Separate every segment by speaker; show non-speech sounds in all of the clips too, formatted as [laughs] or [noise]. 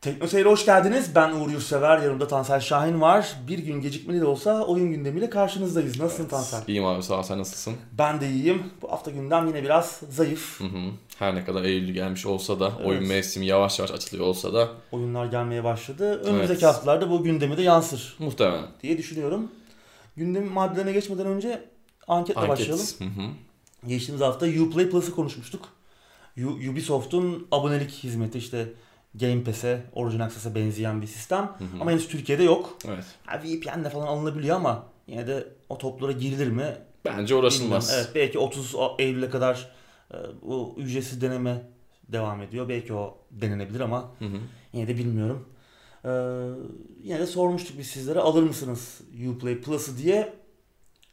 Speaker 1: Tekno Seyir'e hoş geldiniz. Ben Uğur Yurtsever, yanımda Tansel Şahin var. Bir gün gecikmeli de olsa oyun gündemiyle karşınızdayız. Nasılsın Tansel?
Speaker 2: İyiyim abi sağ ol sen nasılsın?
Speaker 1: Ben de iyiyim. Bu hafta gündem yine biraz zayıf.
Speaker 2: Hı hı. Her ne kadar Eylül gelmiş olsa da,
Speaker 1: Evet.
Speaker 2: oyun mevsimi yavaş yavaş açılıyor olsa da
Speaker 1: Oyunlar gelmeye başladı. Önümüzdeki
Speaker 2: Evet.
Speaker 1: haftalarda bu gündemi de yansır
Speaker 2: muhtemelen
Speaker 1: diye düşünüyorum. Gündem maddelerine geçmeden önce anketle başlayalım.
Speaker 2: anket. Hı hı.
Speaker 1: Geçtiğimiz hafta Uplay Plus'ı konuşmuştuk. U- Ubisoft'un abonelik hizmeti işte Game Pass'e, Origin Access'e benzeyen bir sistem.
Speaker 2: Hı hı.
Speaker 1: Ama henüz Türkiye'de yok.
Speaker 2: Evet.
Speaker 1: Ha, VPN'le falan alınabiliyor ama yine de o toplara girilir mi
Speaker 2: Bence
Speaker 1: Bilmiyorum.
Speaker 2: uğraşılmaz.
Speaker 1: Evet belki 30 Eylül'e kadar e, bu ücretsiz deneme devam ediyor. Belki o denenebilir ama
Speaker 2: Hı hı.
Speaker 1: yine de bilmiyorum. Ee, yine de sormuştuk biz sizlere alır mısınız Uplay Plus'ı diye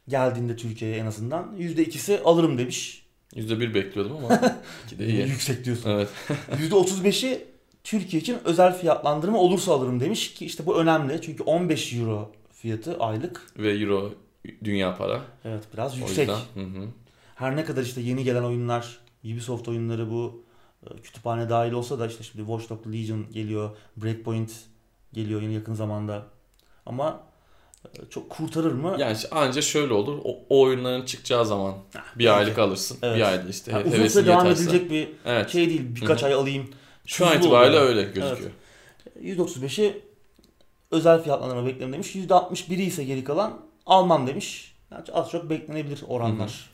Speaker 1: geldiğinde Türkiye'ye en azından. %2'si alırım demiş.
Speaker 2: %1 bekliyordum
Speaker 1: [laughs]
Speaker 2: ama iki de iyi.
Speaker 1: Yüksek diyorsun. [laughs]
Speaker 2: Evet.
Speaker 1: %35'i Türkiye için özel fiyatlandırma olursa alırım demiş ki işte bu önemli. Çünkü 15 euro fiyatı aylık.
Speaker 2: Ve euro dünya para.
Speaker 1: Evet biraz
Speaker 2: O
Speaker 1: yüksek.
Speaker 2: yüzden hı hı.
Speaker 1: her ne kadar işte yeni gelen oyunlar Ubisoft oyunları bu e, kütüphane dahil olsa da işte şimdi Watch Dogs Legion geliyor, Breakpoint geliyor yeni yakın zamanda. Ama e, çok kurtarır mı?
Speaker 2: Yani işte anca şöyle olur. O, o oyunların çıkacağı zaman
Speaker 1: bence.
Speaker 2: bir aylık alırsın.
Speaker 1: Evet.
Speaker 2: Bir ayda işte
Speaker 1: Yani
Speaker 2: he-
Speaker 1: uzun
Speaker 2: hevesin
Speaker 1: süre devam
Speaker 2: yeterse.
Speaker 1: edilecek bir
Speaker 2: Evet.
Speaker 1: şey değil. Birkaç
Speaker 2: Hı hı.
Speaker 1: ay alayım.
Speaker 2: Şu an
Speaker 1: tuzlu
Speaker 2: itibariyle
Speaker 1: oluyor.
Speaker 2: öyle gözüküyor.
Speaker 1: 135'i özel fiyatlandırma beklerim demiş. %61'i ise geri kalan almam demiş. Yani az çok beklenebilir oranlar.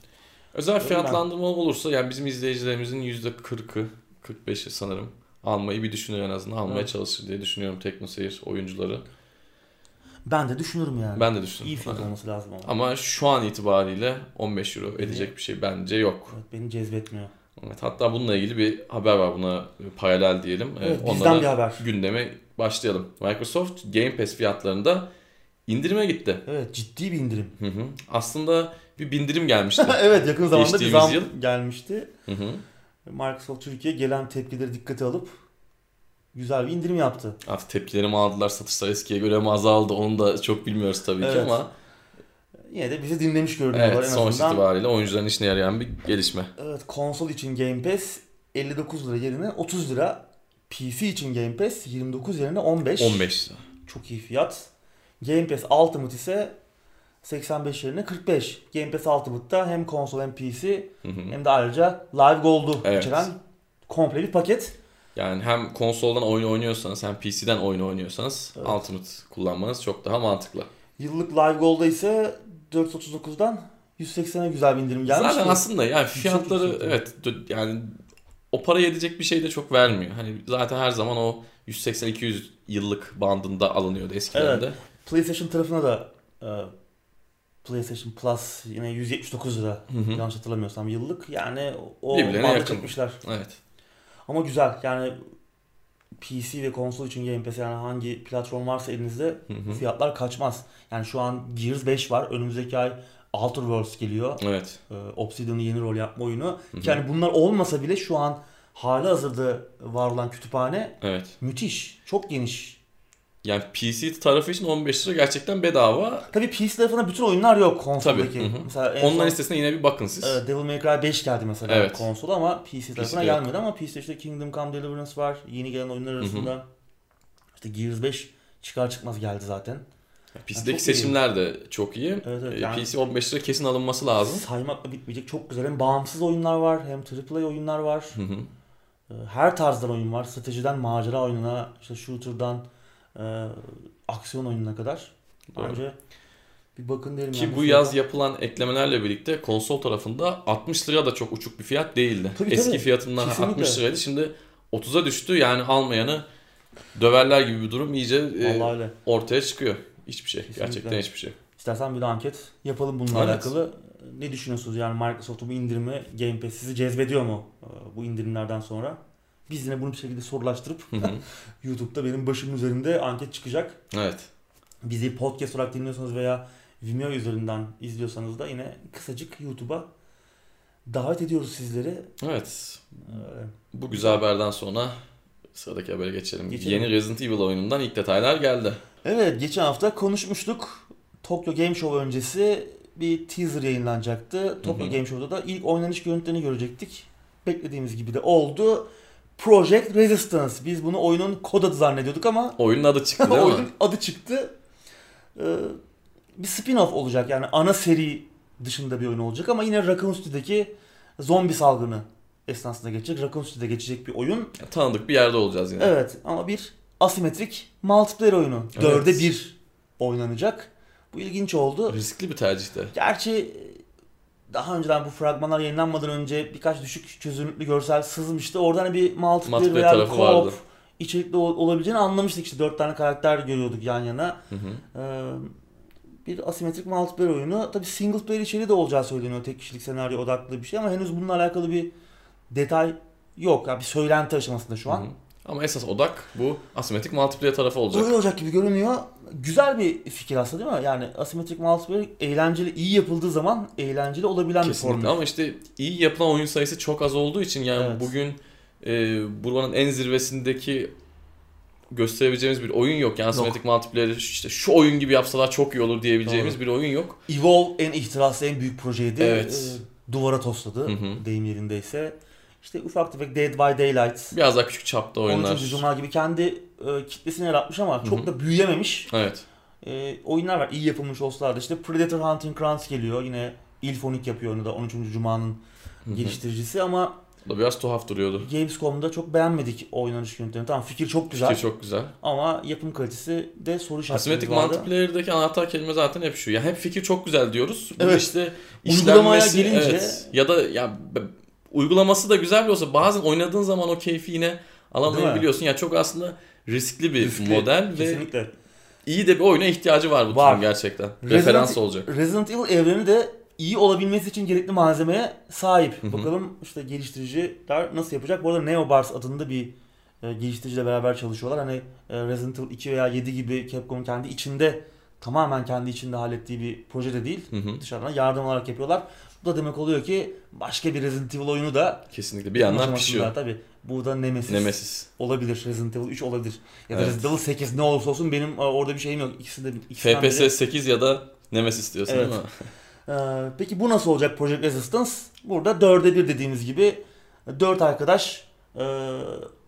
Speaker 2: Özel
Speaker 1: ben.
Speaker 2: fiyatlandırma olursa yani bizim izleyicilerimizin %40'ı, 45'i sanırım almayı bir düşünür en azından. Almaya
Speaker 1: Evet.
Speaker 2: çalışır diye düşünüyorum Tekno Seyir oyuncuları.
Speaker 1: Ben de düşünürüm yani.
Speaker 2: Ben de düşünüyorum.
Speaker 1: İyi fiyat
Speaker 2: Aynen.
Speaker 1: olması lazım ama.
Speaker 2: Ama şu an itibariyle 15 euro edecek bir şey bence yok.
Speaker 1: Evet, beni cezbetmiyor.
Speaker 2: Evet, hatta bununla ilgili bir haber var buna paralel diyelim. Ee,
Speaker 1: Evet,
Speaker 2: onunla
Speaker 1: bizden
Speaker 2: da
Speaker 1: bir haber.
Speaker 2: gündeme başlayalım. Microsoft Game Pass fiyatlarında indirime gitti.
Speaker 1: Evet ciddi bir indirim.
Speaker 2: Hı hı. Aslında bir bindirim
Speaker 1: [laughs]
Speaker 2: gelmişti.
Speaker 1: evet yakın zamanda bir
Speaker 2: Geçtiğimiz
Speaker 1: zam
Speaker 2: yıl.
Speaker 1: gelmişti.
Speaker 2: Hı hı.
Speaker 1: Microsoft Türkiye gelen tepkileri dikkate alıp güzel bir indirim yaptı.
Speaker 2: Artık tepkilerimi aldılar. Satışlar eskiye göre mi azaldı? Onu da çok bilmiyoruz tabii
Speaker 1: Evet.
Speaker 2: ki ama
Speaker 1: Yine de bizi dinlemiş görünüyorlar
Speaker 2: evet,
Speaker 1: en
Speaker 2: sonuç
Speaker 1: azından.
Speaker 2: itibariyle oyuncuların işine yarayan bir gelişme.
Speaker 1: Evet konsol için Game Pass 59 lira yerine 30 lira. PC için Game Pass 29 yerine 15.
Speaker 2: 15 lira.
Speaker 1: Çok iyi fiyat. Game Pass Ultimate ise 85 yerine 45. Game Pass Ultimate'da hem konsol hem PC
Speaker 2: Hı hı.
Speaker 1: hem de ayrıca Live Gold'u
Speaker 2: Evet.
Speaker 1: içeren komple bir paket.
Speaker 2: Yani hem konsoldan oyun oynuyorsanız hem PC'den oyun oynuyorsanız
Speaker 1: Evet.
Speaker 2: Ultimate kullanmanız çok daha mantıklı.
Speaker 1: Yıllık Live Gold'da ise 439'dan 180'e güzel bir indirim gelmiş.
Speaker 2: Zaten
Speaker 1: ki.
Speaker 2: aslında yani
Speaker 1: şey
Speaker 2: fiyatları
Speaker 1: yüksek.
Speaker 2: evet dö- yani o paraya edecek bir şey de çok vermiyor. Hani zaten her zaman o 180-200 yıllık bandında alınıyordu eskiden
Speaker 1: Evet.
Speaker 2: de.
Speaker 1: PlayStation tarafına da e, PlayStation Plus yine 179 lira
Speaker 2: Hı hı.
Speaker 1: yanlış hatırlamıyorsam yıllık. Yani o
Speaker 2: Birbirlerine
Speaker 1: banda
Speaker 2: yakın.
Speaker 1: çekmişler.
Speaker 2: Evet.
Speaker 1: Ama güzel yani PC ve konsol için Game Pass yani hangi platform varsa elinizde
Speaker 2: Hı hı.
Speaker 1: fiyatlar kaçmaz. Yani şu an Gears 5 var. Önümüzdeki ay Outer Worlds geliyor.
Speaker 2: Evet.
Speaker 1: Ee, Obsidian'ın yeni rol yapma oyunu.
Speaker 2: Hı hı.
Speaker 1: Yani bunlar olmasa bile şu an hali hazırda var olan kütüphane
Speaker 2: Evet.
Speaker 1: müthiş. Çok geniş.
Speaker 2: Yani PC tarafı için 15 lira gerçekten bedava.
Speaker 1: Tabii PC tarafına bütün oyunlar yok konsoldaki.
Speaker 2: Tabii, hı hı.
Speaker 1: Mesela en
Speaker 2: Onların
Speaker 1: son-
Speaker 2: listesine yine bir bakın siz.
Speaker 1: Evet, Devil May Cry 5 geldi mesela
Speaker 2: Evet.
Speaker 1: konsola ama PC tarafına
Speaker 2: yok.
Speaker 1: gelmedi ama PC'de işte Kingdom Come Deliverance var. Yeni gelen oyunlar arasında. İşte Gears 5 çıkar çıkmaz geldi zaten.
Speaker 2: PC'deki
Speaker 1: çok iyi.
Speaker 2: seçimler de çok iyi.
Speaker 1: Evet, evet,
Speaker 2: Ee,
Speaker 1: yani-
Speaker 2: PC 15 lira kesin alınması lazım.
Speaker 1: Saymakla bitmeyecek çok güzel hem bağımsız oyunlar var hem AAA oyunlar var.
Speaker 2: Hı hı.
Speaker 1: Ee, Her tarzdan oyun var. Stratejiden macera oyununa, işte shooter'dan e, aksiyon oyununa kadar.
Speaker 2: Doğru.
Speaker 1: Bence bir bakın derim. yani
Speaker 2: Ki bu
Speaker 1: fiyata.
Speaker 2: yaz yapılan eklemelerle birlikte konsol tarafında 60 lira da çok uçuk bir fiyat değildi.
Speaker 1: Tabii,
Speaker 2: Eski
Speaker 1: tabii.
Speaker 2: fiyatından
Speaker 1: Kesinlikle.
Speaker 2: 60 liraydı. Şimdi 30'a düştü. Yani almayanı döverler gibi bir durum iyice e,
Speaker 1: Vallahi öyle.
Speaker 2: ortaya çıkıyor. Hiçbir şey.
Speaker 1: Kesinlikle.
Speaker 2: Gerçekten hiçbir şey.
Speaker 1: İstersen bir de anket yapalım bununla
Speaker 2: Evet.
Speaker 1: alakalı. Ne düşünüyorsunuz yani Microsoft'un bu indirimi Game Pass sizi cezbediyor mu e, bu indirimlerden sonra? Biz yine bunu bir şekilde sorulaştırıp
Speaker 2: Hı hı.
Speaker 1: YouTube'da benim başımın üzerinde anket çıkacak.
Speaker 2: evet.
Speaker 1: Bizi podcast olarak dinliyorsanız veya Vimeo üzerinden izliyorsanız da yine kısacık YouTube'a davet ediyoruz sizleri.
Speaker 2: Evet.
Speaker 1: E,
Speaker 2: Bu güzel haberden sonra sıradaki habere geçelim.
Speaker 1: Geçelim.
Speaker 2: Yeni Resident Evil oyunundan ilk detaylar geldi.
Speaker 1: Evet geçen hafta konuşmuştuk. Tokyo Game Show öncesi bir teaser yayınlanacaktı. Tokyo
Speaker 2: hı.
Speaker 1: Game Show'da da ilk oynanış görüntülerini görecektik. Beklediğimiz gibi de oldu. Project Resistance. Biz bunu oyunun kod adı zannediyorduk ama [laughs]
Speaker 2: Oyunun adı çıktı değil mi?
Speaker 1: oyunun adı çıktı. Ee, bir spin-off olacak yani ana seri dışında bir oyun olacak ama yine Raccoon City'deki zombi salgını esnasında geçecek. Raccoon City'de geçecek bir oyun.
Speaker 2: Tanıdık bir yerde olacağız yine.
Speaker 1: Evet ama bir asimetrik multiplayer oyunu.
Speaker 2: Evet.
Speaker 1: Dörde bir oynanacak. Bu ilginç oldu.
Speaker 2: Riskli bir tercihte.
Speaker 1: Gerçi e, daha önceden bu fragmanlar yayınlanmadan önce birkaç düşük çözünürlüklü görsel sızmıştı. Oradan bir multiplayer
Speaker 2: Multiplayer
Speaker 1: veya bir
Speaker 2: tarafı
Speaker 1: co-op
Speaker 2: vardı.
Speaker 1: içerikli ol- olabileceğini anlamıştık. İşte dört tane karakter görüyorduk yan yana.
Speaker 2: Hı hı.
Speaker 1: Ee, bir asimetrik multiplayer oyunu. Tabi single player içeriği de olacağı söyleniyor. Tek kişilik senaryo odaklı bir şey ama henüz bununla alakalı bir detay yok. Yani bir söylenti aşamasında şu an.
Speaker 2: Hı hı. Ama esas odak bu asimetrik multiplayer tarafı olacak.
Speaker 1: Öyle olacak gibi görünüyor. Güzel bir fikir aslında değil mi? Yani asimetrik multiplayer eğlenceli, iyi yapıldığı zaman eğlenceli olabilen bir
Speaker 2: Kesinlikle
Speaker 1: form.
Speaker 2: ama işte iyi yapılan oyun sayısı çok az olduğu için yani
Speaker 1: Evet.
Speaker 2: bugün e, Burvan'ın en zirvesindeki gösterebileceğimiz bir oyun yok. Yani asimetrik multiplayer'i işte şu oyun gibi yapsalar çok iyi olur diyebileceğimiz bir oyun yok.
Speaker 1: Evolve en ihtiraslı, en büyük projeydi.
Speaker 2: Evet.
Speaker 1: Ee, duvara tosladı
Speaker 2: Hı hı.
Speaker 1: deyim yerindeyse. İşte ufak tefek Dead by Daylight,
Speaker 2: Biraz daha küçük çapta
Speaker 1: 13.
Speaker 2: oyunlar.
Speaker 1: Cuma gibi kendi e, kitlesini yaratmış ama
Speaker 2: Hı
Speaker 1: çok
Speaker 2: hı.
Speaker 1: da büyüyememiş
Speaker 2: Evet.
Speaker 1: e, oyunlar var. iyi yapılmış olsalar da. İşte Predator Hunting Grounds geliyor. Yine Ilphonic yapıyor onu da 13. Cuma'nın
Speaker 2: Hı hı.
Speaker 1: geliştiricisi ama
Speaker 2: Bu da biraz tuhaf duruyordu.
Speaker 1: Gamescom'da çok beğenmedik oynanış yöntemini. Tamam fikir çok güzel.
Speaker 2: Güzel. çok güzel.
Speaker 1: Ama yapım kalitesi de soru işaretimiz
Speaker 2: Asimetrik
Speaker 1: vardı.
Speaker 2: multiplayer'deki anahtar kelime zaten hep şu. Ya hep fikir çok güzel diyoruz. Bu
Speaker 1: Evet.
Speaker 2: işte
Speaker 1: Uygulamaya
Speaker 2: işlenmesi-
Speaker 1: gelince-
Speaker 2: evet. ya da ya be- uygulaması da güzel bile olsa bazen oynadığın zaman o keyfi yine alamayabiliyorsun. Ya çok aslında riskli bir
Speaker 1: Riskli,
Speaker 2: model ve
Speaker 1: Kesinlikle.
Speaker 2: iyi de bir oyuna ihtiyacı var bu
Speaker 1: Var.
Speaker 2: türün gerçekten.
Speaker 1: Resident- E-
Speaker 2: Referans olacak.
Speaker 1: Resident Evil evreni de iyi olabilmesi için gerekli malzemeye sahip.
Speaker 2: Hı hı.
Speaker 1: Bakalım işte geliştiriciler nasıl yapacak. Bu arada Neobars adında bir e, geliştiriciyle beraber çalışıyorlar. Hani e, Resident Evil 2 veya 7 gibi Capcom'un kendi içinde tamamen kendi içinde hallettiği bir proje de değil.
Speaker 2: Hı hı.
Speaker 1: Dışarıdan yardım olarak yapıyorlar. Bu da demek oluyor ki başka bir Resident Evil oyunu da
Speaker 2: Kesinlikle bir yandan
Speaker 1: aşamasında
Speaker 2: pişiyor.
Speaker 1: Tabii. Bu da Nemesis.
Speaker 2: Nemesis.
Speaker 1: olabilir. Resident Evil 3 olabilir. Ya da
Speaker 2: Evet.
Speaker 1: Resident Evil 8 ne olursa olsun benim e, orada bir şeyim yok. İkisi de ikisinden biri.
Speaker 2: FPS 8 ya da Nemesis diyorsun
Speaker 1: Evet.
Speaker 2: değil mi?
Speaker 1: Ee, peki bu nasıl olacak Project Resistance? Burada 4'e 1 dediğimiz gibi 4 arkadaş e,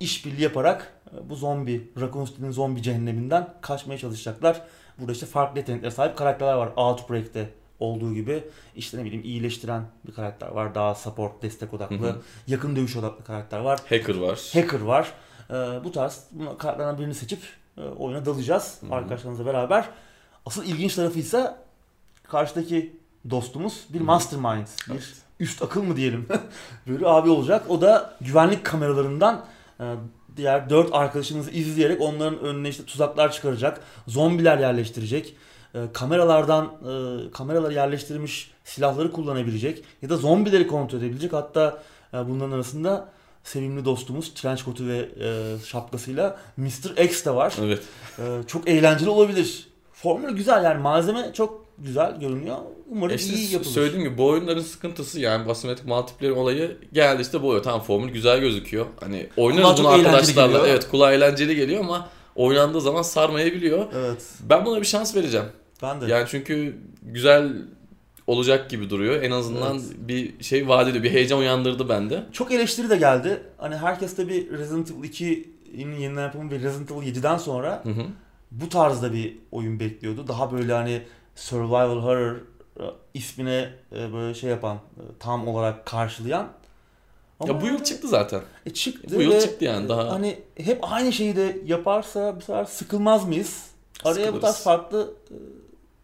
Speaker 1: işbirliği yaparak e, bu zombi, Raccoon City'nin zombi cehenneminden kaçmaya çalışacaklar. Burada işte farklı yeteneklere sahip karakterler var. Outbreak'te olduğu gibi işte ne bileyim iyileştiren bir karakter var. Daha support, destek
Speaker 2: Hı
Speaker 1: odaklı,
Speaker 2: hı.
Speaker 1: yakın dövüş odaklı karakter var.
Speaker 2: Hacker var.
Speaker 1: Hacker var. Ee, bu tarz buna- kartlardan birini seçip e, oyuna dalacağız
Speaker 2: Hı hı.
Speaker 1: arkadaşlarımızla beraber. Asıl ilginç tarafı ise karşıdaki dostumuz bir
Speaker 2: Hı hı.
Speaker 1: mastermind, bir
Speaker 2: Evet.
Speaker 1: üst akıl mı diyelim [laughs] böyle abi olacak. O da güvenlik kameralarından e, diğer dört arkadaşımızı izleyerek onların önüne işte tuzaklar çıkaracak, zombiler yerleştirecek, e, kameralardan e, kameraları yerleştirilmiş silahları kullanabilecek ya da zombileri kontrol edebilecek. Hatta e, bunların arasında sevimli dostumuz trench kotu ve e, şapkasıyla Mr. X de var.
Speaker 2: Evet.
Speaker 1: E, çok eğlenceli olabilir. Formül güzel yani malzeme çok güzel görünüyor. Umarım
Speaker 2: İşte
Speaker 1: iyi yapılır.
Speaker 2: E söylediğim gibi bu oyunların sıkıntısı yani bu asimetrik multiplayer olayı geldi işte bu oyun. Tamam formül güzel gözüküyor. Hani
Speaker 1: Kulağa
Speaker 2: oynarız
Speaker 1: çok
Speaker 2: bunu
Speaker 1: eğlenceli
Speaker 2: arkadaşlarla.
Speaker 1: geliyor.
Speaker 2: Evet kulağa eğlenceli geliyor ama oynandığı zaman sarmayabiliyor.
Speaker 1: Evet.
Speaker 2: Ben buna bir şans vereceğim.
Speaker 1: Ben de.
Speaker 2: Yani çünkü güzel olacak gibi duruyor. En azından
Speaker 1: Evet.
Speaker 2: bir şey vaat ediyor. Bir heyecan uyandırdı bende.
Speaker 1: Çok eleştiri de geldi. Hani herkes tabi Resident Evil 2'nin yeniden yapımı ve Resident Evil 7'den sonra
Speaker 2: Hı hı.
Speaker 1: bu tarzda bir oyun bekliyordu. Daha böyle hani survival horror e, ismine e, böyle şey yapan, e, tam olarak karşılayan. Ama
Speaker 2: Ya bu yıl çıktı zaten.
Speaker 1: E, çıktı.
Speaker 2: bu yıl
Speaker 1: ve,
Speaker 2: çıktı yani
Speaker 1: e,
Speaker 2: daha.
Speaker 1: Hani hep aynı şeyi de yaparsa bu sefer sıkılmaz mıyız? Araya bu tarz
Speaker 2: Sıkılırız.
Speaker 1: farklı e,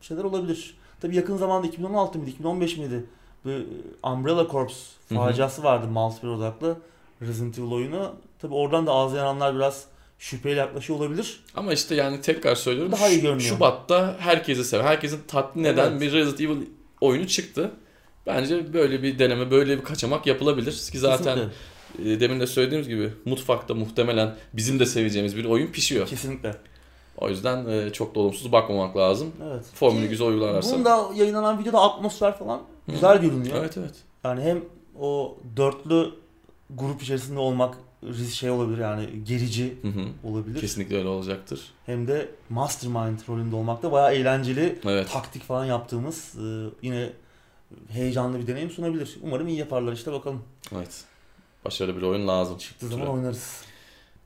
Speaker 1: şeyler olabilir. Tabi yakın zamanda 2016 mıydı, 2015 miydi? Bu e, Umbrella Corps
Speaker 2: Hı hı.
Speaker 1: faciası vardı multiplayer odaklı Resident Evil oyunu. Tabi oradan da ağzı yananlar biraz şüpheyle yaklaşıyor olabilir.
Speaker 2: Ama işte yani tekrar söylüyorum.
Speaker 1: Daha iyi
Speaker 2: Şu-
Speaker 1: görünüyor.
Speaker 2: Şubat'ta herkesi seven, herkesin tatmin eden
Speaker 1: Evet.
Speaker 2: bir Resident Evil oyunu çıktı. Bence böyle bir deneme, böyle bir kaçamak yapılabilir. Ki zaten
Speaker 1: Kesinlikle.
Speaker 2: e, demin de söylediğimiz gibi mutfakta muhtemelen bizim de seveceğimiz bir oyun pişiyor.
Speaker 1: Kesinlikle.
Speaker 2: O yüzden e, çok da olumsuz bakmamak lazım.
Speaker 1: Evet.
Speaker 2: Formülü
Speaker 1: Ki
Speaker 2: güzel uygularlarsa.
Speaker 1: Bunda yayınlanan videoda atmosfer falan
Speaker 2: Hı.
Speaker 1: güzel görünüyor.
Speaker 2: Evet evet.
Speaker 1: Yani hem o dörtlü grup içerisinde olmak risk- şey olabilir yani gerici
Speaker 2: Hı hı.
Speaker 1: olabilir.
Speaker 2: Kesinlikle öyle olacaktır.
Speaker 1: Hem de mastermind rolünde olmak da bayağı eğlenceli
Speaker 2: Evet.
Speaker 1: taktik falan yaptığımız e, yine heyecanlı bir deneyim sunabilir. Umarım iyi yaparlar işte bakalım.
Speaker 2: Evet. başarılı bir oyun lazım.
Speaker 1: Çıktığı zaman oynarız.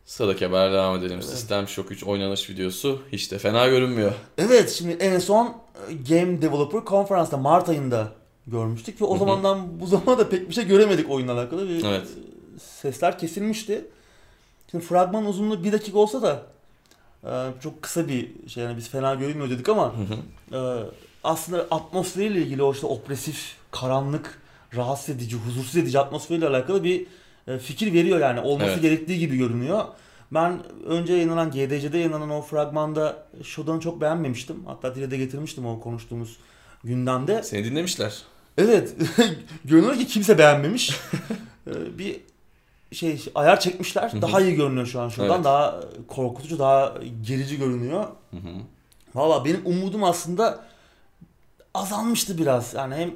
Speaker 2: Sıradaki haber devam edelim. Sistem Shock 3 oynanış videosu hiç de fena görünmüyor.
Speaker 1: Evet şimdi en son e, Game Developer Conference'da Mart ayında görmüştük ve
Speaker 2: Hı
Speaker 1: o
Speaker 2: hı.
Speaker 1: zamandan bu zamana da pek bir şey göremedik oyunla alakalı. Bir
Speaker 2: Evet.
Speaker 1: e, Sesler kesilmişti. Şimdi fragman uzunluğu bir dakika olsa da e, çok kısa bir şey yani biz fena görünmüyor dedik ama
Speaker 2: Hı hı.
Speaker 1: e, aslında atmosferiyle ilgili o işte opresif, karanlık, rahatsız edici, huzursuz edici atmosferiyle alakalı bir e, fikir veriyor yani. Olması
Speaker 2: Evet.
Speaker 1: gerektiği gibi görünüyor. Ben önce yayınlanan GDC'de yayınlanan o fragmanda Shodan'ı çok beğenmemiştim. Hatta dile de getirmiştim o konuştuğumuz gündemde.
Speaker 2: Seni dinlemişler.
Speaker 1: Evet. [laughs] görünüyor ki kimse
Speaker 2: [laughs]
Speaker 1: beğenmemiş. Ee, bir şey ayar
Speaker 2: Hı hı.
Speaker 1: çekmişler. Daha iyi görünüyor şu an şuradan.
Speaker 2: Evet.
Speaker 1: Daha korkutucu, daha gerici görünüyor.
Speaker 2: Hı hı.
Speaker 1: Valla benim umudum aslında azalmıştı biraz. Yani hem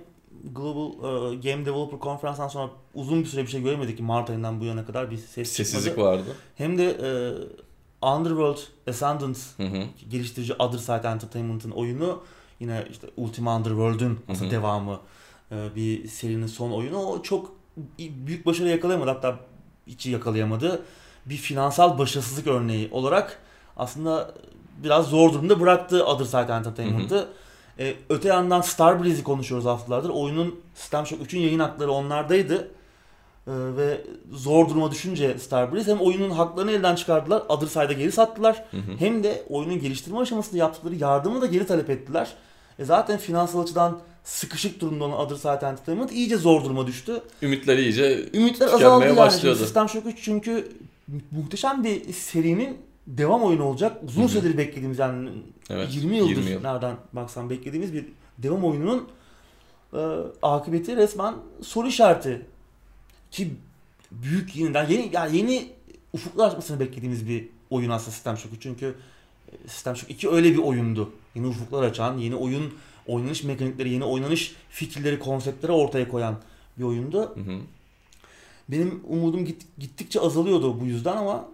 Speaker 1: Global e, Game Developer Conference'dan sonra uzun bir süre bir şey göremedik ki Mart ayından bu yana kadar bir ses
Speaker 2: Sessizlik
Speaker 1: çıkmadı.
Speaker 2: vardı.
Speaker 1: Hem de e, Underworld Ascendant
Speaker 2: Hı hı.
Speaker 1: geliştirici Other Side Entertainment'ın oyunu yine işte Ultima Underworld'ün
Speaker 2: Hı hı.
Speaker 1: aslında devamı e, bir serinin son oyunu. O çok büyük başarı yakalayamadı hatta içi yakalayamadı. Bir finansal başarısızlık örneği olarak aslında biraz zor durumda bıraktı Other Side Entertainment'ı. E, öte yandan Starbreeze'i konuşuyoruz haftalardır. Oyunun System Shock 3'ün yayın hakları onlardaydı. E, ve zor duruma düşünce Starbreeze hem oyunun haklarını elden çıkardılar, Other Side'a geri sattılar.
Speaker 2: Hı hı.
Speaker 1: Hem de oyunun geliştirme aşamasında yaptıkları yardımı da geri talep ettiler. E zaten finansal açıdan sıkışık durumda olan Other Side Entertainment iyice zor duruma düştü.
Speaker 2: Ümitler iyice
Speaker 1: Ümitler
Speaker 2: Tükenmeye
Speaker 1: azaldı yani. Şimdi
Speaker 2: başladı.
Speaker 1: System Shock 3 çünkü muhteşem bir serinin devam oyunu olacak.
Speaker 2: Hı
Speaker 1: Uzun
Speaker 2: hı.
Speaker 1: süredir beklediğimiz yani
Speaker 2: evet,
Speaker 1: 20 yıldır
Speaker 2: 20 yıl.
Speaker 1: nereden baksan beklediğimiz bir devam oyununun e, akıbeti resmen soru işareti. Ki büyük yeniden yeni yani yeni ufuklar açmasını beklediğimiz bir oyun aslında System Shock 3. Çünkü e, System Shock 2 öyle bir oyundu. Yeni ufuklar açan, yeni oyun oynanış mekanikleri, yeni oynanış fikirleri, konseptleri ortaya koyan bir oyundu.
Speaker 2: Hı hı.
Speaker 1: Benim umudum git- gittikçe azalıyordu bu yüzden ama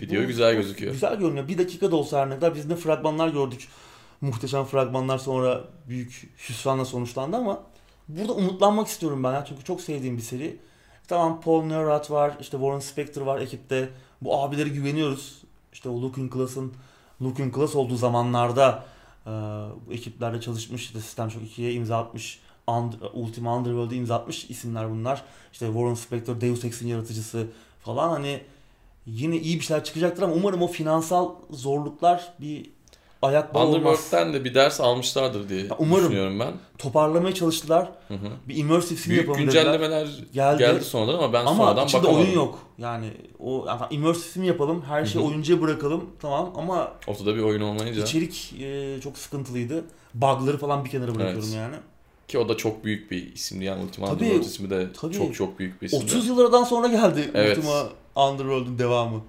Speaker 2: Video
Speaker 1: bu-
Speaker 2: güzel
Speaker 1: bu-
Speaker 2: gözüküyor.
Speaker 1: Güzel görünüyor. Bir dakika da olsa her ne kadar biz ne fragmanlar gördük. Muhteşem fragmanlar sonra büyük hüsranla sonuçlandı ama burada umutlanmak istiyorum ben ya. Çünkü çok sevdiğim bir seri. Tamam Paul Neurath var, işte Warren Spector var ekipte. Bu abilere güveniyoruz. İşte o Looking Glass'ın Looking Glass olduğu zamanlarda e, bu ekiplerde çalışmış, işte System Shock 2'ye imza atmış, Und, Ultima Underworld'e imza atmış isimler bunlar. İşte Warren Spector, Deus Ex'in yaratıcısı falan hani yine iyi bir şeyler çıkacaktır ama umarım o finansal zorluklar bir ayak bağı olmaz.
Speaker 2: Underworld'den de bir ders almışlardır diye
Speaker 1: Ya umarım.
Speaker 2: düşünüyorum ben.
Speaker 1: Toparlamaya çalıştılar.
Speaker 2: Hı hı.
Speaker 1: Bir immersive sim
Speaker 2: Büyük
Speaker 1: yapalım dediler.
Speaker 2: güncellemeler
Speaker 1: Geldi.
Speaker 2: geldi sonradan ama ben
Speaker 1: Ama
Speaker 2: sonradan
Speaker 1: içinde
Speaker 2: bakamadım.
Speaker 1: oyun yok. Yani o yani immersive sim yapalım. Her şeyi
Speaker 2: Hı hı.
Speaker 1: oyuncuya bırakalım. Tamam ama
Speaker 2: Ortada bir oyun olmayınca
Speaker 1: içerik e, çok sıkıntılıydı. Bug'ları falan bir kenara bırakıyorum
Speaker 2: Evet.
Speaker 1: yani.
Speaker 2: ki o da çok büyük bir isimdi yani Ultima
Speaker 1: Tabii,
Speaker 2: Underworld ismi de
Speaker 1: tabii.
Speaker 2: çok çok büyük bir isimdi.
Speaker 1: 30 yıllardan sonra geldi
Speaker 2: Evet.
Speaker 1: Ultima Underworld'un devamı.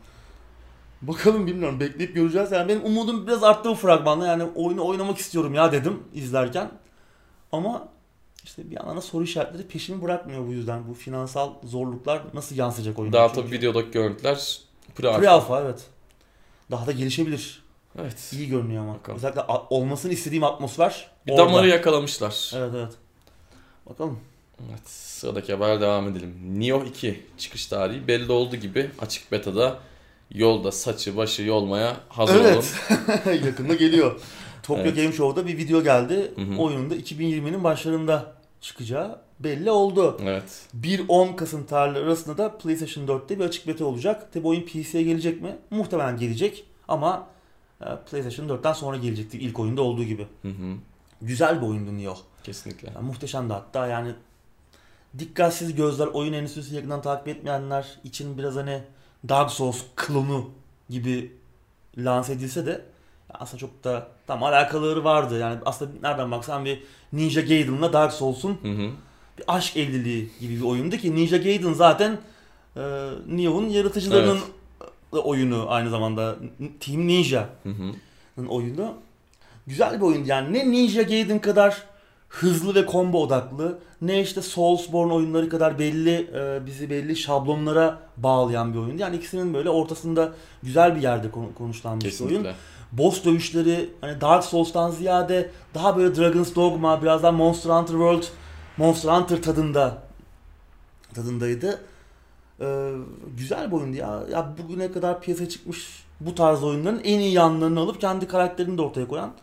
Speaker 1: Bakalım bilmiyorum bekleyip göreceğiz. Yani benim umudum biraz arttı bu fragmanla. Yani oyunu oynamak istiyorum ya dedim izlerken. Ama işte bir yandan da soru işaretleri peşimi bırakmıyor bu yüzden. Bu finansal zorluklar nasıl yansıyacak oyuna?
Speaker 2: Daha
Speaker 1: Çünkü-
Speaker 2: tabii videodaki görüntüler pre-alpha.
Speaker 1: Pre-alpha evet. Daha da gelişebilir.
Speaker 2: Evet.
Speaker 1: İyi görünüyor ama.
Speaker 2: Bakalım.
Speaker 1: Özellikle a- olmasını istediğim atmosfer
Speaker 2: Bir
Speaker 1: orada.
Speaker 2: damarı yakalamışlar.
Speaker 1: Evet evet. Bakalım.
Speaker 2: Evet, sıradaki haber devam edelim. Nioh 2 çıkış tarihi belli oldu gibi açık betada yolda saçı başı yolmaya hazır olun.
Speaker 1: Evet. [laughs] Yakında geliyor. Tokyo
Speaker 2: Evet.
Speaker 1: Game Show'da bir video geldi.
Speaker 2: Hı hı.
Speaker 1: Oyunun da 2020'nin başlarında çıkacağı belli oldu.
Speaker 2: Evet.
Speaker 1: 1-10 Kasım tarihleri arasında da PlayStation 4'te bir açık beta olacak. Tabi oyun PC'ye gelecek mi? Muhtemelen gelecek ama e, PlayStation 4'ten sonra gelecekti ilk oyunda olduğu gibi.
Speaker 2: Hı hı.
Speaker 1: Güzel bir oyundu Nioh.
Speaker 2: Kesinlikle.
Speaker 1: Yani muhteşemdi hatta yani dikkatsiz gözler oyun endüstrisini yakından takip etmeyenler için biraz hani Dark Souls klonu gibi lanse edilse de aslında çok da tam alakaları vardı. Yani aslında nereden baksan bir Ninja Gaiden'la Dark Souls'un
Speaker 2: Hı hı.
Speaker 1: bir aşk evliliği gibi bir oyundu ki Ninja Gaiden zaten e, Neo'nun yaratıcılarının oyunu aynı zamanda Team Ninja.
Speaker 2: Hı hı.
Speaker 1: Ninja'nın oyunu. Güzel bir oyun yani ne Ninja Gaiden kadar hızlı ve combo odaklı ne işte Soulsborne oyunları kadar belli e, bizi belli şablonlara bağlayan bir oyun. Yani ikisinin böyle ortasında güzel bir yerde konu- konuşlanmış bir oyun.
Speaker 2: Kesinlikle.
Speaker 1: Boss dövüşleri hani Dark Souls'tan ziyade daha böyle Dragon's Dogma, biraz daha Monster Hunter World, Monster Hunter tadında tadındaydı. Ee, güzel bir oyundu ya. Ya bugüne kadar piyasaya çıkmış bu tarz oyunların en iyi yanlarını alıp kendi karakterini de ortaya koyan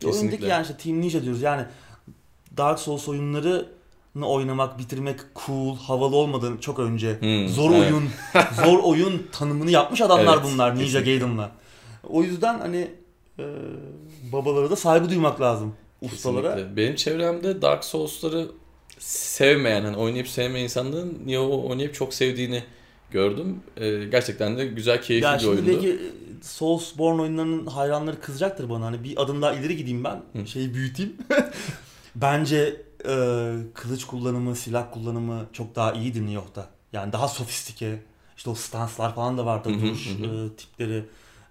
Speaker 1: bir
Speaker 2: Kesinlikle.
Speaker 1: oyundu ki yani işte Team Ninja diyoruz. Yani Dark Souls oyunlarını oynamak, bitirmek cool, havalı olmadan çok önce
Speaker 2: Hmm,
Speaker 1: zor
Speaker 2: evet.
Speaker 1: oyun, zor oyun tanımını yapmış adamlar
Speaker 2: Evet,
Speaker 1: bunlar Ninja
Speaker 2: kesinlikle.
Speaker 1: Gaiden'la. O yüzden hani e, babalara da saygı duymak lazım ustalara.
Speaker 2: Kesinlikle. Benim çevremde Dark Souls'ları sevmeyen, hani oynayıp sevmeyen insanların niye o oynayıp çok sevdiğini gördüm. Ee, gerçekten de güzel, keyifli
Speaker 1: Ya
Speaker 2: bir
Speaker 1: şimdi
Speaker 2: oyundu.
Speaker 1: belki e, Soulsborne oyunlarının hayranları kızacaktır bana. Hani bir adım daha ileri gideyim ben.
Speaker 2: Hı.
Speaker 1: Şeyi büyüteyim. Bence e, kılıç kullanımı, silah kullanımı çok daha iyiydi New York'ta. Yani daha sofistike. İşte o stanslar falan da var
Speaker 2: Hı
Speaker 1: tabii
Speaker 2: hı,
Speaker 1: duruş
Speaker 2: hı
Speaker 1: e, tipleri.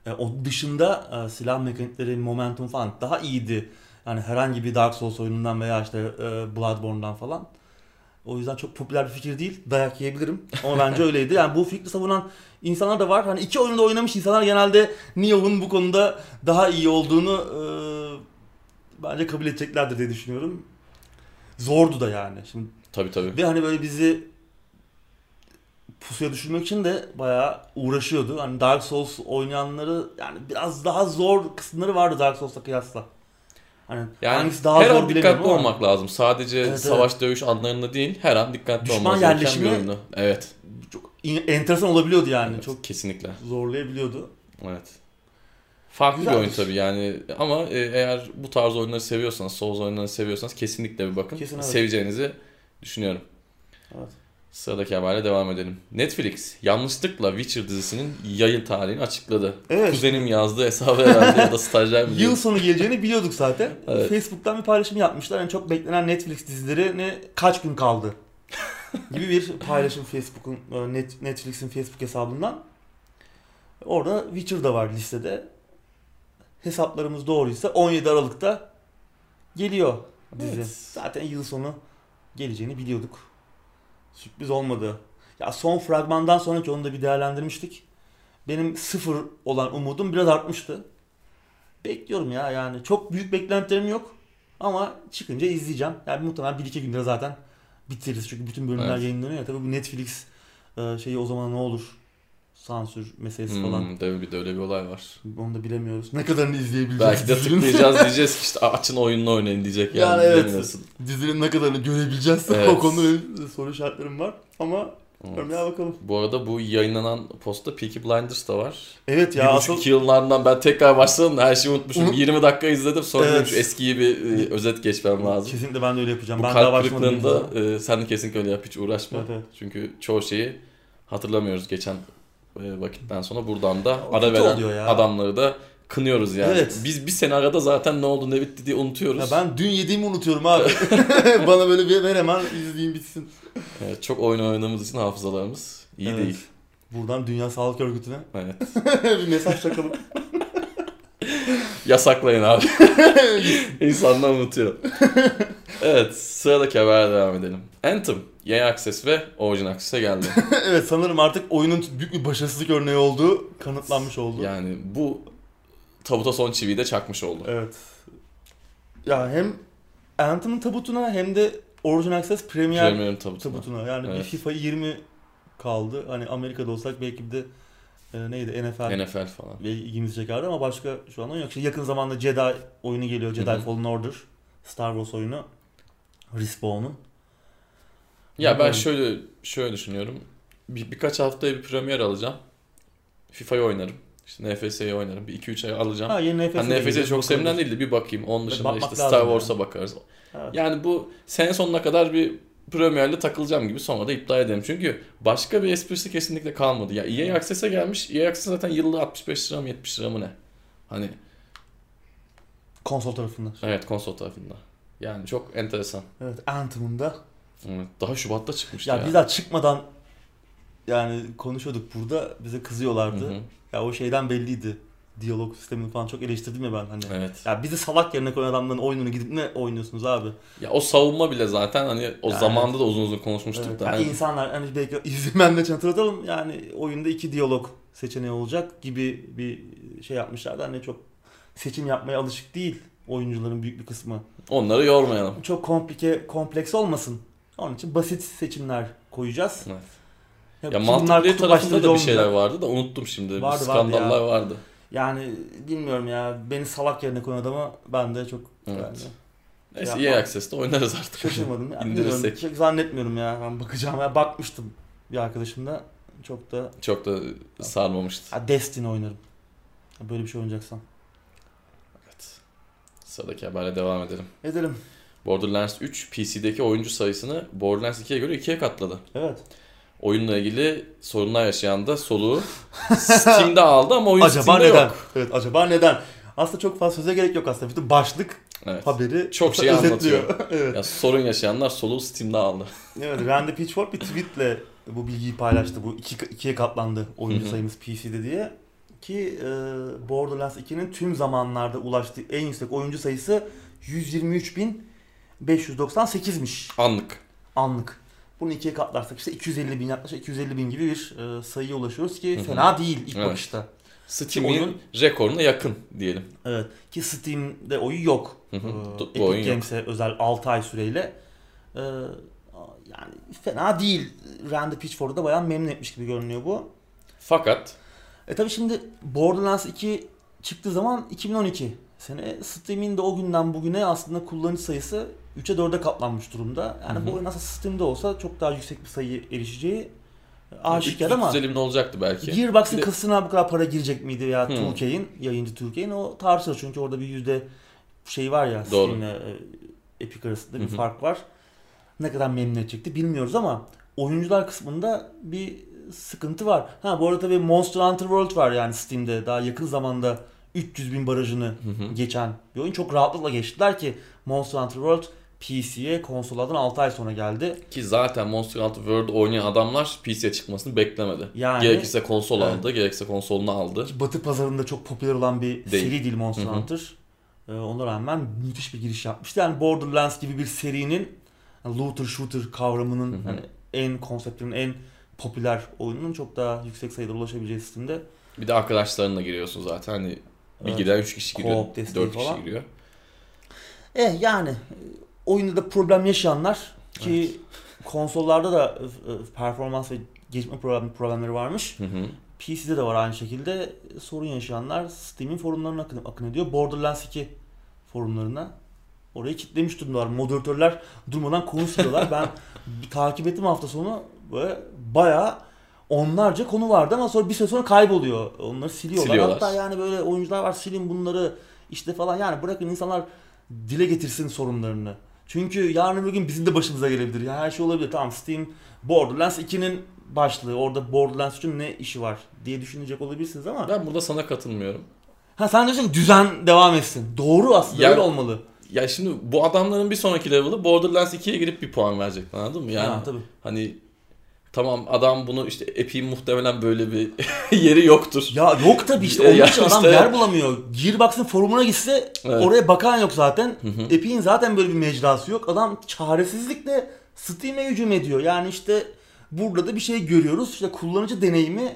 Speaker 1: E, o dışında e, silah mekanikleri, momentum falan daha iyiydi. Yani herhangi bir Dark Souls oyunundan veya işte e, Bloodborne'dan falan. O yüzden çok popüler bir fikir değil. Dayak yiyebilirim. Ama
Speaker 2: [laughs]
Speaker 1: bence öyleydi. Yani bu fikri savunan insanlar da var. Hani iki oyunda oynamış insanlar genelde Neo'nun bu konuda daha iyi olduğunu e, bence kabul edeceklerdir diye düşünüyorum. Zordu da yani. Şimdi
Speaker 2: Tabii tabii.
Speaker 1: ve hani böyle bizi pusuya düşürmek için de bayağı uğraşıyordu. Hani Dark Souls oynayanları yani biraz daha zor kısımları vardı Dark Souls'a kıyasla. Hani
Speaker 2: Yani
Speaker 1: hangisi daha
Speaker 2: her
Speaker 1: zor
Speaker 2: an dikkatli
Speaker 1: bilemiyorum ama
Speaker 2: olmak lazım. Sadece
Speaker 1: Evet,
Speaker 2: savaş dövüş anlarında değil, her an dikkatli
Speaker 1: Düşman
Speaker 2: olmak gereken
Speaker 1: yerleşimi-
Speaker 2: bir oyundu. Evet.
Speaker 1: çok in- enteresan olabiliyordu yani.
Speaker 2: evet,
Speaker 1: Çok
Speaker 2: kesinlikle.
Speaker 1: zorlayabiliyordu.
Speaker 2: Evet. Farklı bir
Speaker 1: Güzeldir.
Speaker 2: oyun tabii yani ama e, eğer bu tarz oyunları seviyorsanız, Souls oyunlarını seviyorsanız kesinlikle bir bakın.
Speaker 1: Kesin evet.
Speaker 2: Seveceğinizi düşünüyorum.
Speaker 1: Evet.
Speaker 2: Sıradaki haberle devam edelim. Netflix yanlışlıkla Witcher dizisinin yayın tarihini açıkladı.
Speaker 1: [laughs] Evet.
Speaker 2: Kuzenim yazdı hesabı herhalde ya da stajyer
Speaker 1: [laughs]
Speaker 2: mi?
Speaker 1: Yıl sonu geleceğini biliyorduk zaten.
Speaker 2: [laughs] Evet.
Speaker 1: Facebook'tan bir paylaşım yapmışlar. Yani çok beklenen Netflix dizilerine kaç gün
Speaker 2: [laughs]
Speaker 1: kaldı? gibi bir paylaşım Facebook'un e, Net- Netflix'in Facebook hesabından. Orada Witcher da var listede. Hesaplarımız doğruysa 17 Aralık'ta geliyor dizi.
Speaker 2: Evet.
Speaker 1: Zaten yıl sonu geleceğini biliyorduk. Sürpriz olmadı. Ya son fragmandan sonraki onu da bir değerlendirmiştik. Benim sıfır olan umudum biraz artmıştı. Bekliyorum ya yani. Çok büyük beklentilerim yok. Ama çıkınca izleyeceğim. Yani muhtemelen 1-2 günde zaten bitiririz. Çünkü bütün bölümler
Speaker 2: Evet.
Speaker 1: yayınlanıyor. ya. Tabii bu Netflix e, şeyi o zaman ne olur? Sansür meselesi
Speaker 2: Hmm,
Speaker 1: falan.
Speaker 2: tabii bir de öyle bir olay var.
Speaker 1: Onu da bilemiyoruz. Ne kadarını izleyebileceğiz?
Speaker 2: Belki de
Speaker 1: dizinin?
Speaker 2: tıklayacağız diyeceğiz ki işte açın oyununu oynayın diyecek yani.
Speaker 1: [laughs] Yani evet.
Speaker 2: bilemiyorsun.
Speaker 1: Dizinin ne kadarını görebileceğiz? [laughs]
Speaker 2: Evet.
Speaker 1: O konuda benim soru işaretlerim var. Ama
Speaker 2: Evet.
Speaker 1: görmeye bakalım.
Speaker 2: Bu arada bu yayınlanan postta Peaky Blinders da var.
Speaker 1: Evet
Speaker 2: Ya
Speaker 1: ya
Speaker 2: bir
Speaker 1: asıl
Speaker 2: buçuk iki yılın ardından ben tekrar başladım da her şeyi unutmuşum.
Speaker 1: Unut-
Speaker 2: 20 dakika izledim sonra
Speaker 1: Evet.
Speaker 2: dedim şu eskiyi bir e, özet geçmem lazım.
Speaker 1: Kesinlikle ben de öyle yapacağım.
Speaker 2: Bu
Speaker 1: ben daha
Speaker 2: kalp
Speaker 1: başlamadım. henüz.
Speaker 2: kırıklığında e, sen de kesinlikle öyle yap hiç uğraşma.
Speaker 1: Evet, evet.
Speaker 2: Çünkü çoğu şeyi hatırlamıyoruz geçen e, vakitten sonra. Buradan da
Speaker 1: O
Speaker 2: ara
Speaker 1: kötü
Speaker 2: veren
Speaker 1: oluyor ya.
Speaker 2: adamları da kınıyoruz yani.
Speaker 1: Evet.
Speaker 2: Biz bir sene arada zaten ne oldu ne bitti diye unutuyoruz.
Speaker 1: Ya ben dün yediğimi unutuyorum abi. [laughs] Bana böyle bir ver hemen izleyeyim bitsin.
Speaker 2: Evet, çok oyun oynadığımız için hafızalarımız iyi
Speaker 1: Evet.
Speaker 2: değil.
Speaker 1: Buradan Dünya Sağlık Örgütü'ne
Speaker 2: Evet.
Speaker 1: bir mesaj takalım.
Speaker 2: Yasaklayın abi. İnsanlar unutuyor. evet sıradaki habere devam edelim. Anthem yeni Access ve Origin Access'e geldi.
Speaker 1: [laughs] evet sanırım artık oyunun büyük bir başarısızlık örneği olduğu kanıtlanmış oldu.
Speaker 2: yani bu tabuta son çiviyi de çakmış oldu.
Speaker 1: Evet. Ya hem Anthem'ın tabutuna hem de Origin Access Premier
Speaker 2: Premium tabutuna.
Speaker 1: tabutuna. Yani bir
Speaker 2: Evet.
Speaker 1: FIFA 20 kaldı. Hani Amerika'da olsak belki bir de e, neydi NFL
Speaker 2: NFL falan.
Speaker 1: ve ilgimizi çekerdi ama başka şu an oyun yok. İşte yakın zamanda Jedi oyunu geliyor. Jedi
Speaker 2: Hı hı.
Speaker 1: Fallen Order. Star Wars oyunu. Respawn'un.
Speaker 2: Ya ben
Speaker 1: Bilmiyorum.
Speaker 2: şöyle şöyle düşünüyorum. Bir, birkaç haftaya bir premier alacağım. FIFA'yı oynarım. İşte NFS'yi oynarım. Bir 2-3 ay alacağım.
Speaker 1: Ha yeni NFS.
Speaker 2: Hani
Speaker 1: de
Speaker 2: NFS'e
Speaker 1: geliyor.
Speaker 2: çok
Speaker 1: Bakabiliriz.
Speaker 2: sevimden değil de bir bakayım. Onun dışında
Speaker 1: bakmak
Speaker 2: işte
Speaker 1: lazım
Speaker 2: Star
Speaker 1: yani.
Speaker 2: Wars'a bakarız.
Speaker 1: Evet.
Speaker 2: Yani bu sene sonuna kadar bir Premier'le takılacağım gibi sonra da iptal edelim. Çünkü başka bir esprisi kesinlikle kalmadı. Ya EA Access'e gelmiş. EA Access zaten yıllık 65 lira mı 70 lira mı ne? Hani
Speaker 1: Konsol tarafından.
Speaker 2: evet konsol tarafında. Yani çok enteresan.
Speaker 1: Evet Anthem'ın da.
Speaker 2: Evet, Daha Şubat'ta çıkmıştı
Speaker 1: Ya,
Speaker 2: ya.
Speaker 1: biz daha çıkmadan yani konuşuyorduk burada. Bize kızıyorlardı.
Speaker 2: Hı hı.
Speaker 1: Ya o şeyden belliydi. Diyalog sistemini falan çok eleştirdim ya ben hani.
Speaker 2: Evet.
Speaker 1: Ya bizi salak yerine koyan adamların oyununu gidip ne oynuyorsunuz abi?
Speaker 2: Ya o savunma bile zaten hani o
Speaker 1: Yani-
Speaker 2: zamanda da uzun uzun konuşmuştuk
Speaker 1: Evet,
Speaker 2: da.
Speaker 1: yani
Speaker 2: hani-
Speaker 1: insanlar hani belki [laughs] izlememle için hatırlatalım yani oyunda iki diyalog seçeneği olacak gibi bir şey yapmışlardı. Hani çok seçim yapmaya alışık değil oyuncuların büyük bir kısmı.
Speaker 2: Onları yormayalım.
Speaker 1: Çok komplike, kompleks olmasın. Onun için basit seçimler koyacağız.
Speaker 2: Evet.
Speaker 1: Ya,
Speaker 2: Ya
Speaker 1: bunlar
Speaker 2: mantıklı tarafında
Speaker 1: kutuplaştırıcı
Speaker 2: da bir şeyler
Speaker 1: olmayacak.
Speaker 2: vardı da unuttum şimdi.
Speaker 1: Vardı, vardı
Speaker 2: bir skandallar
Speaker 1: ya.
Speaker 2: vardı.
Speaker 1: Yani bilmiyorum ya beni salak yerine koyan adama ben de çok
Speaker 2: Evet.
Speaker 1: yani
Speaker 2: Neyse
Speaker 1: Ya,
Speaker 2: EA Access'te oynarız artık.
Speaker 1: şaşırmadım. ya.
Speaker 2: İndirirsek.
Speaker 1: Bilmiyorum, Çok zannetmiyorum ya. Ben bakacağım ya bakmıştım bir arkadaşımda. Çok da
Speaker 2: [laughs] Çok da sarmamıştı.
Speaker 1: ha, Destiny oynarım. Böyle bir şey oynayacaksam.
Speaker 2: Evet. Sıradaki haberle devam edelim.
Speaker 1: Edelim.
Speaker 2: Borderlands 3 PC'deki oyuncu sayısını Borderlands 2'ye göre 2'ye katladı.
Speaker 1: Evet.
Speaker 2: Oyunla ilgili sorunlar yaşayan
Speaker 1: [laughs]
Speaker 2: da soluğu Steam'de aldı ama oyun
Speaker 1: acaba
Speaker 2: Steam'de
Speaker 1: neden?
Speaker 2: yok.
Speaker 1: Evet acaba neden? Aslında çok fazla söze gerek yok aslında. Bütün başlık
Speaker 2: Evet.
Speaker 1: haberi
Speaker 2: Çok şey
Speaker 1: özetliyor. [laughs] evet.
Speaker 2: Ya sorun yaşayanlar soluğu Steam'de aldı.
Speaker 1: Evet, Randy Pitchford bir tweetle bu bilgiyi paylaştı. Bu iki, ikiye katlandı oyuncu
Speaker 2: Hı hı.
Speaker 1: sayımız PC'de diye. Ki e, Borderlands 2'nin tüm zamanlarda ulaştığı en yüksek oyuncu sayısı 123.598'miş
Speaker 2: Anlık.
Speaker 1: anlık. Bunu ikiye katlarsak işte 250 bin yaklaşık 250 bin gibi bir e, sayıya ulaşıyoruz ki
Speaker 2: Hı hı.
Speaker 1: fena değil ilk
Speaker 2: Evet.
Speaker 1: bakışta.
Speaker 2: Steam'in
Speaker 1: Oyun-
Speaker 2: rekoruna yakın diyelim.
Speaker 1: Evet ki Steam'de oyu yok.
Speaker 2: Hı hı.
Speaker 1: Ee,
Speaker 2: Bu
Speaker 1: Epic
Speaker 2: oyun yok.
Speaker 1: Games'e özel 6 ay süreyle. Ee, yani fena değil. Randy Pitchford'u da bayağı memnun etmiş gibi görünüyor bu.
Speaker 2: Fakat
Speaker 1: E tabi şimdi Borderlands 2 çıktığı zaman 2012 sene Steam'in de o günden bugüne aslında kullanıcı sayısı 3'e 4'e katlanmış durumda. Yani
Speaker 2: Hı hı.
Speaker 1: bu oyun aslında Steam'de olsa çok daha yüksek bir sayı erişeceği aşikar ama
Speaker 2: 350 bin olacaktı belki.
Speaker 1: Gearbox'ın
Speaker 2: Bir de-
Speaker 1: kasasına bu kadar para girecek miydi veya
Speaker 2: Hmm.
Speaker 1: Türkiye'nin yayıncı Türkiye'nin o tartışılır çünkü orada bir yüzde şey var ya
Speaker 2: Doğru.
Speaker 1: Steam'le e, Epic arasında bir
Speaker 2: Hı hı.
Speaker 1: fark var. Ne kadar memnun edecekti bilmiyoruz ama oyuncular kısmında bir sıkıntı var. Ha bu arada tabii Monster Hunter World var yani Steam'de daha yakın zamanda 300 bin barajını
Speaker 2: Hı hı.
Speaker 1: geçen bir oyun. Çok rahatlıkla geçtiler ki Monster Hunter World PC'ye konsollardan 6 ay sonra geldi.
Speaker 2: Ki zaten Monster Hunter World oynayan adamlar PC'ye çıkmasını beklemedi.
Speaker 1: Yani-
Speaker 2: gerekirse konsol
Speaker 1: Evet.
Speaker 2: aldı, gerekirse konsolunu aldı.
Speaker 1: Batı pazarında çok popüler olan bir
Speaker 2: Değil.
Speaker 1: seri değil Monster
Speaker 2: Hı hı.
Speaker 1: Hunter. Ee, ona rağmen müthiş bir giriş yapmıştı. Yani Borderlands gibi bir serinin yani looter shooter kavramının
Speaker 2: Hı hı.
Speaker 1: hani en konseptinin en popüler oyununun çok daha yüksek sayıda ulaşabileceği sistemde.
Speaker 2: Bir de arkadaşlarınla giriyorsun zaten. Hani bir
Speaker 1: Evet.
Speaker 2: giren 3 kişi giriyor,
Speaker 1: Co-op
Speaker 2: 4
Speaker 1: desteği falan.
Speaker 2: kişi giriyor.
Speaker 1: Eh yani e, oyunda da problem yaşayanlar ki konsollarda da e, e, performans ve geçme problem, problemleri varmış.
Speaker 2: Hı hı.
Speaker 1: PC'de de var aynı şekilde sorun yaşayanlar Steam'in forumlarına akın, akın ediyor. Borderlands 2 forumlarına. Orayı kitlemiş durumdalar. Moderatörler durmadan konu sürüyorlar. ben [laughs] bir takip ettim hafta sonu böyle bayağı onlarca konu vardı ama sonra bir süre sonra kayboluyor. Onları siliyorlar.
Speaker 2: Siliyorlar.
Speaker 1: Hatta yani böyle oyuncular var silin bunları işte falan yani bırakın insanlar dile getirsin sorunlarını. Çünkü yarın öbür gün bizim de başımıza gelebilir. Yani her şey olabilir. Tamam Steam Borderlands 2'nin başlığı. Orada Borderlands 3'ün ne işi var diye düşünecek olabilirsiniz ama.
Speaker 2: Ben burada sana katılmıyorum.
Speaker 1: Ha sen diyorsun ki düzen devam etsin. Doğru aslında
Speaker 2: Yani-
Speaker 1: öyle olmalı.
Speaker 2: Ya şimdi bu adamların bir sonraki level'ı Borderlands 2'ye girip bir puan verecek anladın mı? Yani
Speaker 1: Ha, tabii.
Speaker 2: hani tamam adam bunu işte Epic'in muhtemelen böyle bir [laughs] yeri yoktur.
Speaker 1: Ya yok tabii işte
Speaker 2: Ya
Speaker 1: onun için adam
Speaker 2: işte-
Speaker 1: yer bulamıyor. Gearbox'ın forumuna gitse
Speaker 2: Evet.
Speaker 1: oraya bakan yok zaten.
Speaker 2: Hı hı.
Speaker 1: Epic'in zaten böyle bir mecrası yok. Adam çaresizlikle Steam'e hücum ediyor. Yani işte burada da bir şey görüyoruz. İşte kullanıcı deneyimi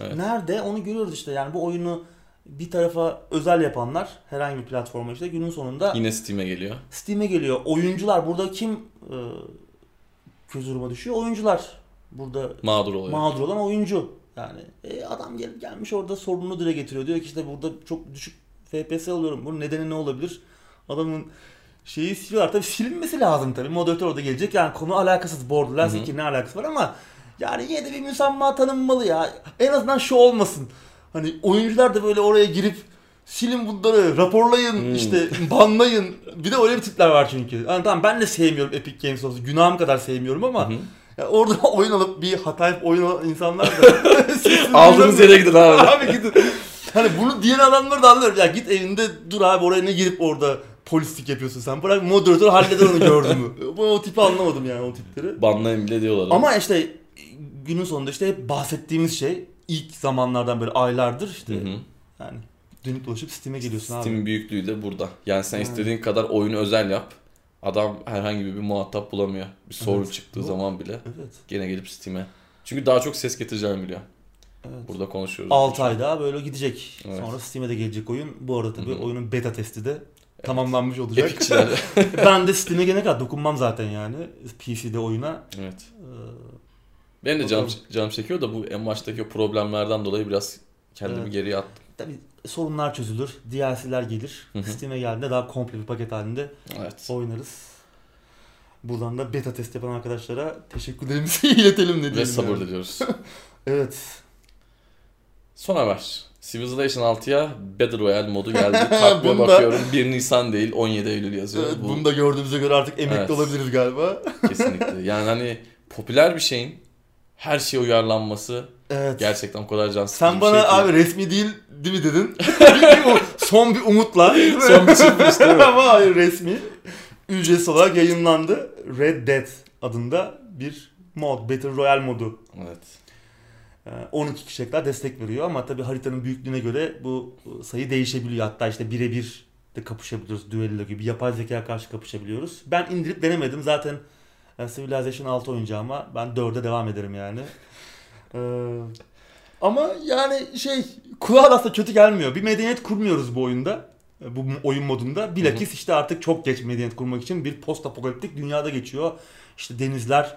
Speaker 2: Evet.
Speaker 1: nerede onu görüyoruz işte. Yani bu oyunu bir tarafa özel yapanlar herhangi bir platforma işte günün sonunda
Speaker 2: Yine Steam'e geliyor.
Speaker 1: Steam'e geliyor. Oyuncular burada kim e, kötü duruma düşüyor? Oyuncular burada
Speaker 2: Mağdur oluyor.
Speaker 1: mağdur olan oyuncu. Yani e, adam gelip gelmiş orada sorununu dile getiriyor. Diyor ki işte burada çok düşük FPS alıyorum. Bunun nedeni ne olabilir? Adamın şeyi siliyorlar. Tabii silinmesi lazım tabii. Moderatör orada gelecek. Yani konu alakasız. Borderlands
Speaker 2: Hı hı.
Speaker 1: 2 ne alakası var ama yani yine de bir müsamma tanınmalı ya. En azından şu olmasın. Hani oyuncular da böyle oraya girip silin bunları, raporlayın,
Speaker 2: Hmm.
Speaker 1: işte banlayın. Bir de öyle bir tipler var çünkü. Yani tamam ben de sevmiyorum Epic Games olsun. Günahım kadar sevmiyorum ama
Speaker 2: Hı hı.
Speaker 1: ya orada [laughs] oyun alıp bir hata yapıp oyun alan insanlar da.
Speaker 2: [laughs]
Speaker 1: Siz-
Speaker 2: Aldığınız yere gidin
Speaker 1: [laughs]
Speaker 2: abi.
Speaker 1: Abi gidin. Hani bunu diyen adamları da anlıyorum. Ya git evinde dur abi oraya ne girip orada polislik yapıyorsun sen. Bırak moderatör halleder onu gördün mü?
Speaker 2: [laughs]
Speaker 1: Bu o tipi anlamadım yani o tipleri.
Speaker 2: Banlayın bile diyorlar.
Speaker 1: Ama işte günün sonunda işte hep bahsettiğimiz şey ilk zamanlardan böyle aylardır işte
Speaker 2: Hı hı.
Speaker 1: yani dönüp dolaşıp Steam'e geliyorsun abi.
Speaker 2: Steam büyüklüğü de burada. Yani sen
Speaker 1: Yani.
Speaker 2: istediğin kadar oyunu özel yap. Adam herhangi bir muhatap bulamıyor. Bir sorun
Speaker 1: Evet.
Speaker 2: çıktığı
Speaker 1: Bu-
Speaker 2: zaman bile
Speaker 1: Evet.
Speaker 2: gene gelip Steam'e. Çünkü daha çok ses getireceğini biliyor.
Speaker 1: Evet.
Speaker 2: Burada [laughs] konuşuyoruz.
Speaker 1: 6 ay daha böyle gidecek.
Speaker 2: Evet.
Speaker 1: Sonra Steam'e de gelecek oyun. Bu arada tabii
Speaker 2: Hı hı.
Speaker 1: oyunun beta testi de tamamlanmış olacak.
Speaker 2: Epicçiler.
Speaker 1: [laughs] ben de Steam'e gene kadar dokunmam zaten yani PC'de oyuna.
Speaker 2: evet.
Speaker 1: Ee,
Speaker 2: Benim de canım,
Speaker 1: Bakalım.
Speaker 2: canım çekiyor da bu en baştaki o problemlerden dolayı biraz kendimi
Speaker 1: Evet.
Speaker 2: geriye attım.
Speaker 1: tabii sorunlar çözülür, DLC'ler gelir.
Speaker 2: Hı hı.
Speaker 1: Steam'e geldiğinde daha komple bir paket halinde
Speaker 2: Evet.
Speaker 1: oynarız. Buradan da beta test yapan arkadaşlara teşekkürlerimizi [laughs] iletelim ne diyelim.
Speaker 2: Ve sabır
Speaker 1: yani.
Speaker 2: diliyoruz.
Speaker 1: Evet.
Speaker 2: Son haber. Civilization 6'ya Battle Royale modu geldi.
Speaker 1: [laughs]
Speaker 2: Takvime
Speaker 1: Bunda-
Speaker 2: bakıyorum 1 Nisan değil 17 Eylül yazıyor.
Speaker 1: Evet,
Speaker 2: Bu
Speaker 1: bunu da gördüğümüze göre artık emekli
Speaker 2: Evet.
Speaker 1: olabiliriz galiba.
Speaker 2: kesinlikle. Yani hani popüler bir şeyin her şeye uyarlanması
Speaker 1: Evet.
Speaker 2: gerçekten o kadar can sıkıcı
Speaker 1: Sen
Speaker 2: bir
Speaker 1: bana
Speaker 2: şey ki.
Speaker 1: abi resmi değil değil mi dedin? Son bir umutla. değil mi? [laughs]
Speaker 2: Son bir sürpriz, değil mi?
Speaker 1: Ama hayır resmi. Ücretsiz olarak yayınlandı. Red Dead adında bir mod, Battle Royale modu.
Speaker 2: Evet.
Speaker 1: Ee, 12 kişiye kadar destek veriyor ama tabii haritanın büyüklüğüne göre bu sayı değişebiliyor. Hatta işte birebir de kapışabiliyoruz düello gibi. Yapay zekaya karşı kapışabiliyoruz. Ben indirip denemedim. Zaten e, Civilization 6 oynayacağıma ben 4'e devam ederim yani. Ee, ama yani şey kulağa da aslında kötü gelmiyor. Bir medeniyet kurmuyoruz bu oyunda. e, Bu oyun modunda. Bilakis işte artık çok geç medeniyet kurmak için bir post apokaliptik dünyada geçiyor. İşte denizler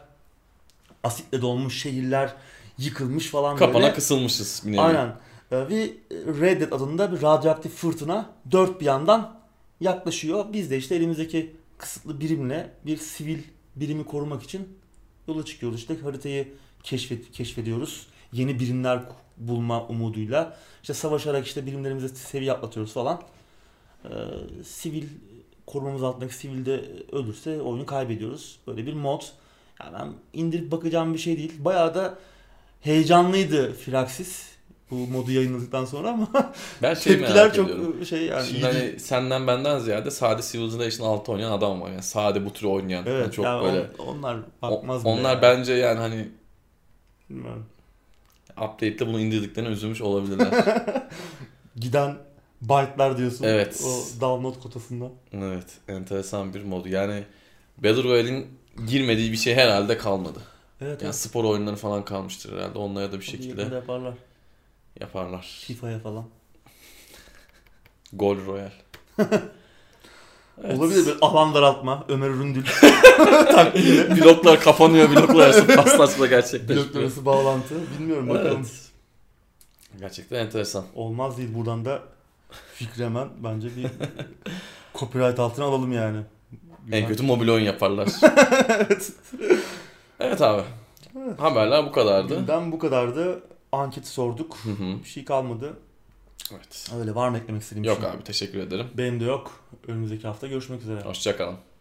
Speaker 1: asitle dolmuş, şehirler yıkılmış falan
Speaker 2: Kapana
Speaker 1: böyle.
Speaker 2: kısılmışız bir nevi.
Speaker 1: Aynen. Ee, Bir Red Dead adında bir radyoaktif fırtına dört bir yandan yaklaşıyor. Biz de işte elimizdeki kısıtlı birimle bir sivil birimi korumak için yola çıkıyoruz. İşte haritayı keşfet, keşfediyoruz. Yeni birimler ku- bulma umuduyla. İşte savaşarak işte birimlerimize seviye atlatıyoruz falan. Ee, sivil korumamız altındaki sivil de ölürse oyunu kaybediyoruz. Böyle bir mod. Yani ben indirip bakacağım bir şey değil. Bayağı da heyecanlıydı Firaxis bu modu yayınladıktan sonra ama
Speaker 2: Ben
Speaker 1: [laughs]
Speaker 2: şeyi
Speaker 1: tepkiler
Speaker 2: merak
Speaker 1: çok
Speaker 2: ediyorum.
Speaker 1: şey yani.
Speaker 2: Şimdi hani senden benden ziyade sade Civilization 6 oynayan adam var. Yani sade bu tür oynayan.
Speaker 1: evet,
Speaker 2: Yani çok
Speaker 1: yani
Speaker 2: böyle.
Speaker 1: on- onlar
Speaker 2: O-
Speaker 1: bakmaz bile
Speaker 2: onlar
Speaker 1: yani.
Speaker 2: bence yani hani
Speaker 1: Bilmiyorum.
Speaker 2: update'te bunu indirdiklerine
Speaker 1: [laughs]
Speaker 2: üzülmüş olabilirler.
Speaker 1: Giden byte'lar diyorsun.
Speaker 2: Evet.
Speaker 1: O download kotasında.
Speaker 2: evet. Enteresan bir mod. Yani Battle Royale'in girmediği bir şey herhalde kalmadı.
Speaker 1: Evet.
Speaker 2: Yani
Speaker 1: evet.
Speaker 2: spor oyunları falan kalmıştır herhalde. Onlara da bir şekilde
Speaker 1: Yakında yaparlar.
Speaker 2: yaparlar.
Speaker 1: FIFA'ya falan. [laughs]
Speaker 2: Gol Royal. Evet.
Speaker 1: Olabilir bir alan daraltma. Ömer
Speaker 2: [laughs]
Speaker 1: Üründül.
Speaker 2: bloklar kapanıyor,
Speaker 1: [laughs]
Speaker 2: bloklar arası paslaşma gerçekleşiyor.
Speaker 1: Bloklar arası bağlantı. Bilmiyorum bakalım.
Speaker 2: Evet. Gerçekten enteresan.
Speaker 1: Olmaz değil. Buradan da Fikremen bence
Speaker 2: [laughs]
Speaker 1: bir copyright altına alalım yani.
Speaker 2: En
Speaker 1: Güzel.
Speaker 2: kötü mobil
Speaker 1: [laughs]
Speaker 2: oyun yaparlar. evet abi. Haberler bu kadardı.
Speaker 1: Gündem bu kadardı. Anketi sorduk.
Speaker 2: Hı hı.
Speaker 1: Bir şey kalmadı.
Speaker 2: evet.
Speaker 1: Öyle var mı eklemek istediğim bir
Speaker 2: Yok
Speaker 1: şey?
Speaker 2: abi teşekkür ederim.
Speaker 1: Benim de yok. Önümüzdeki hafta görüşmek üzere.
Speaker 2: Hoşçakalın.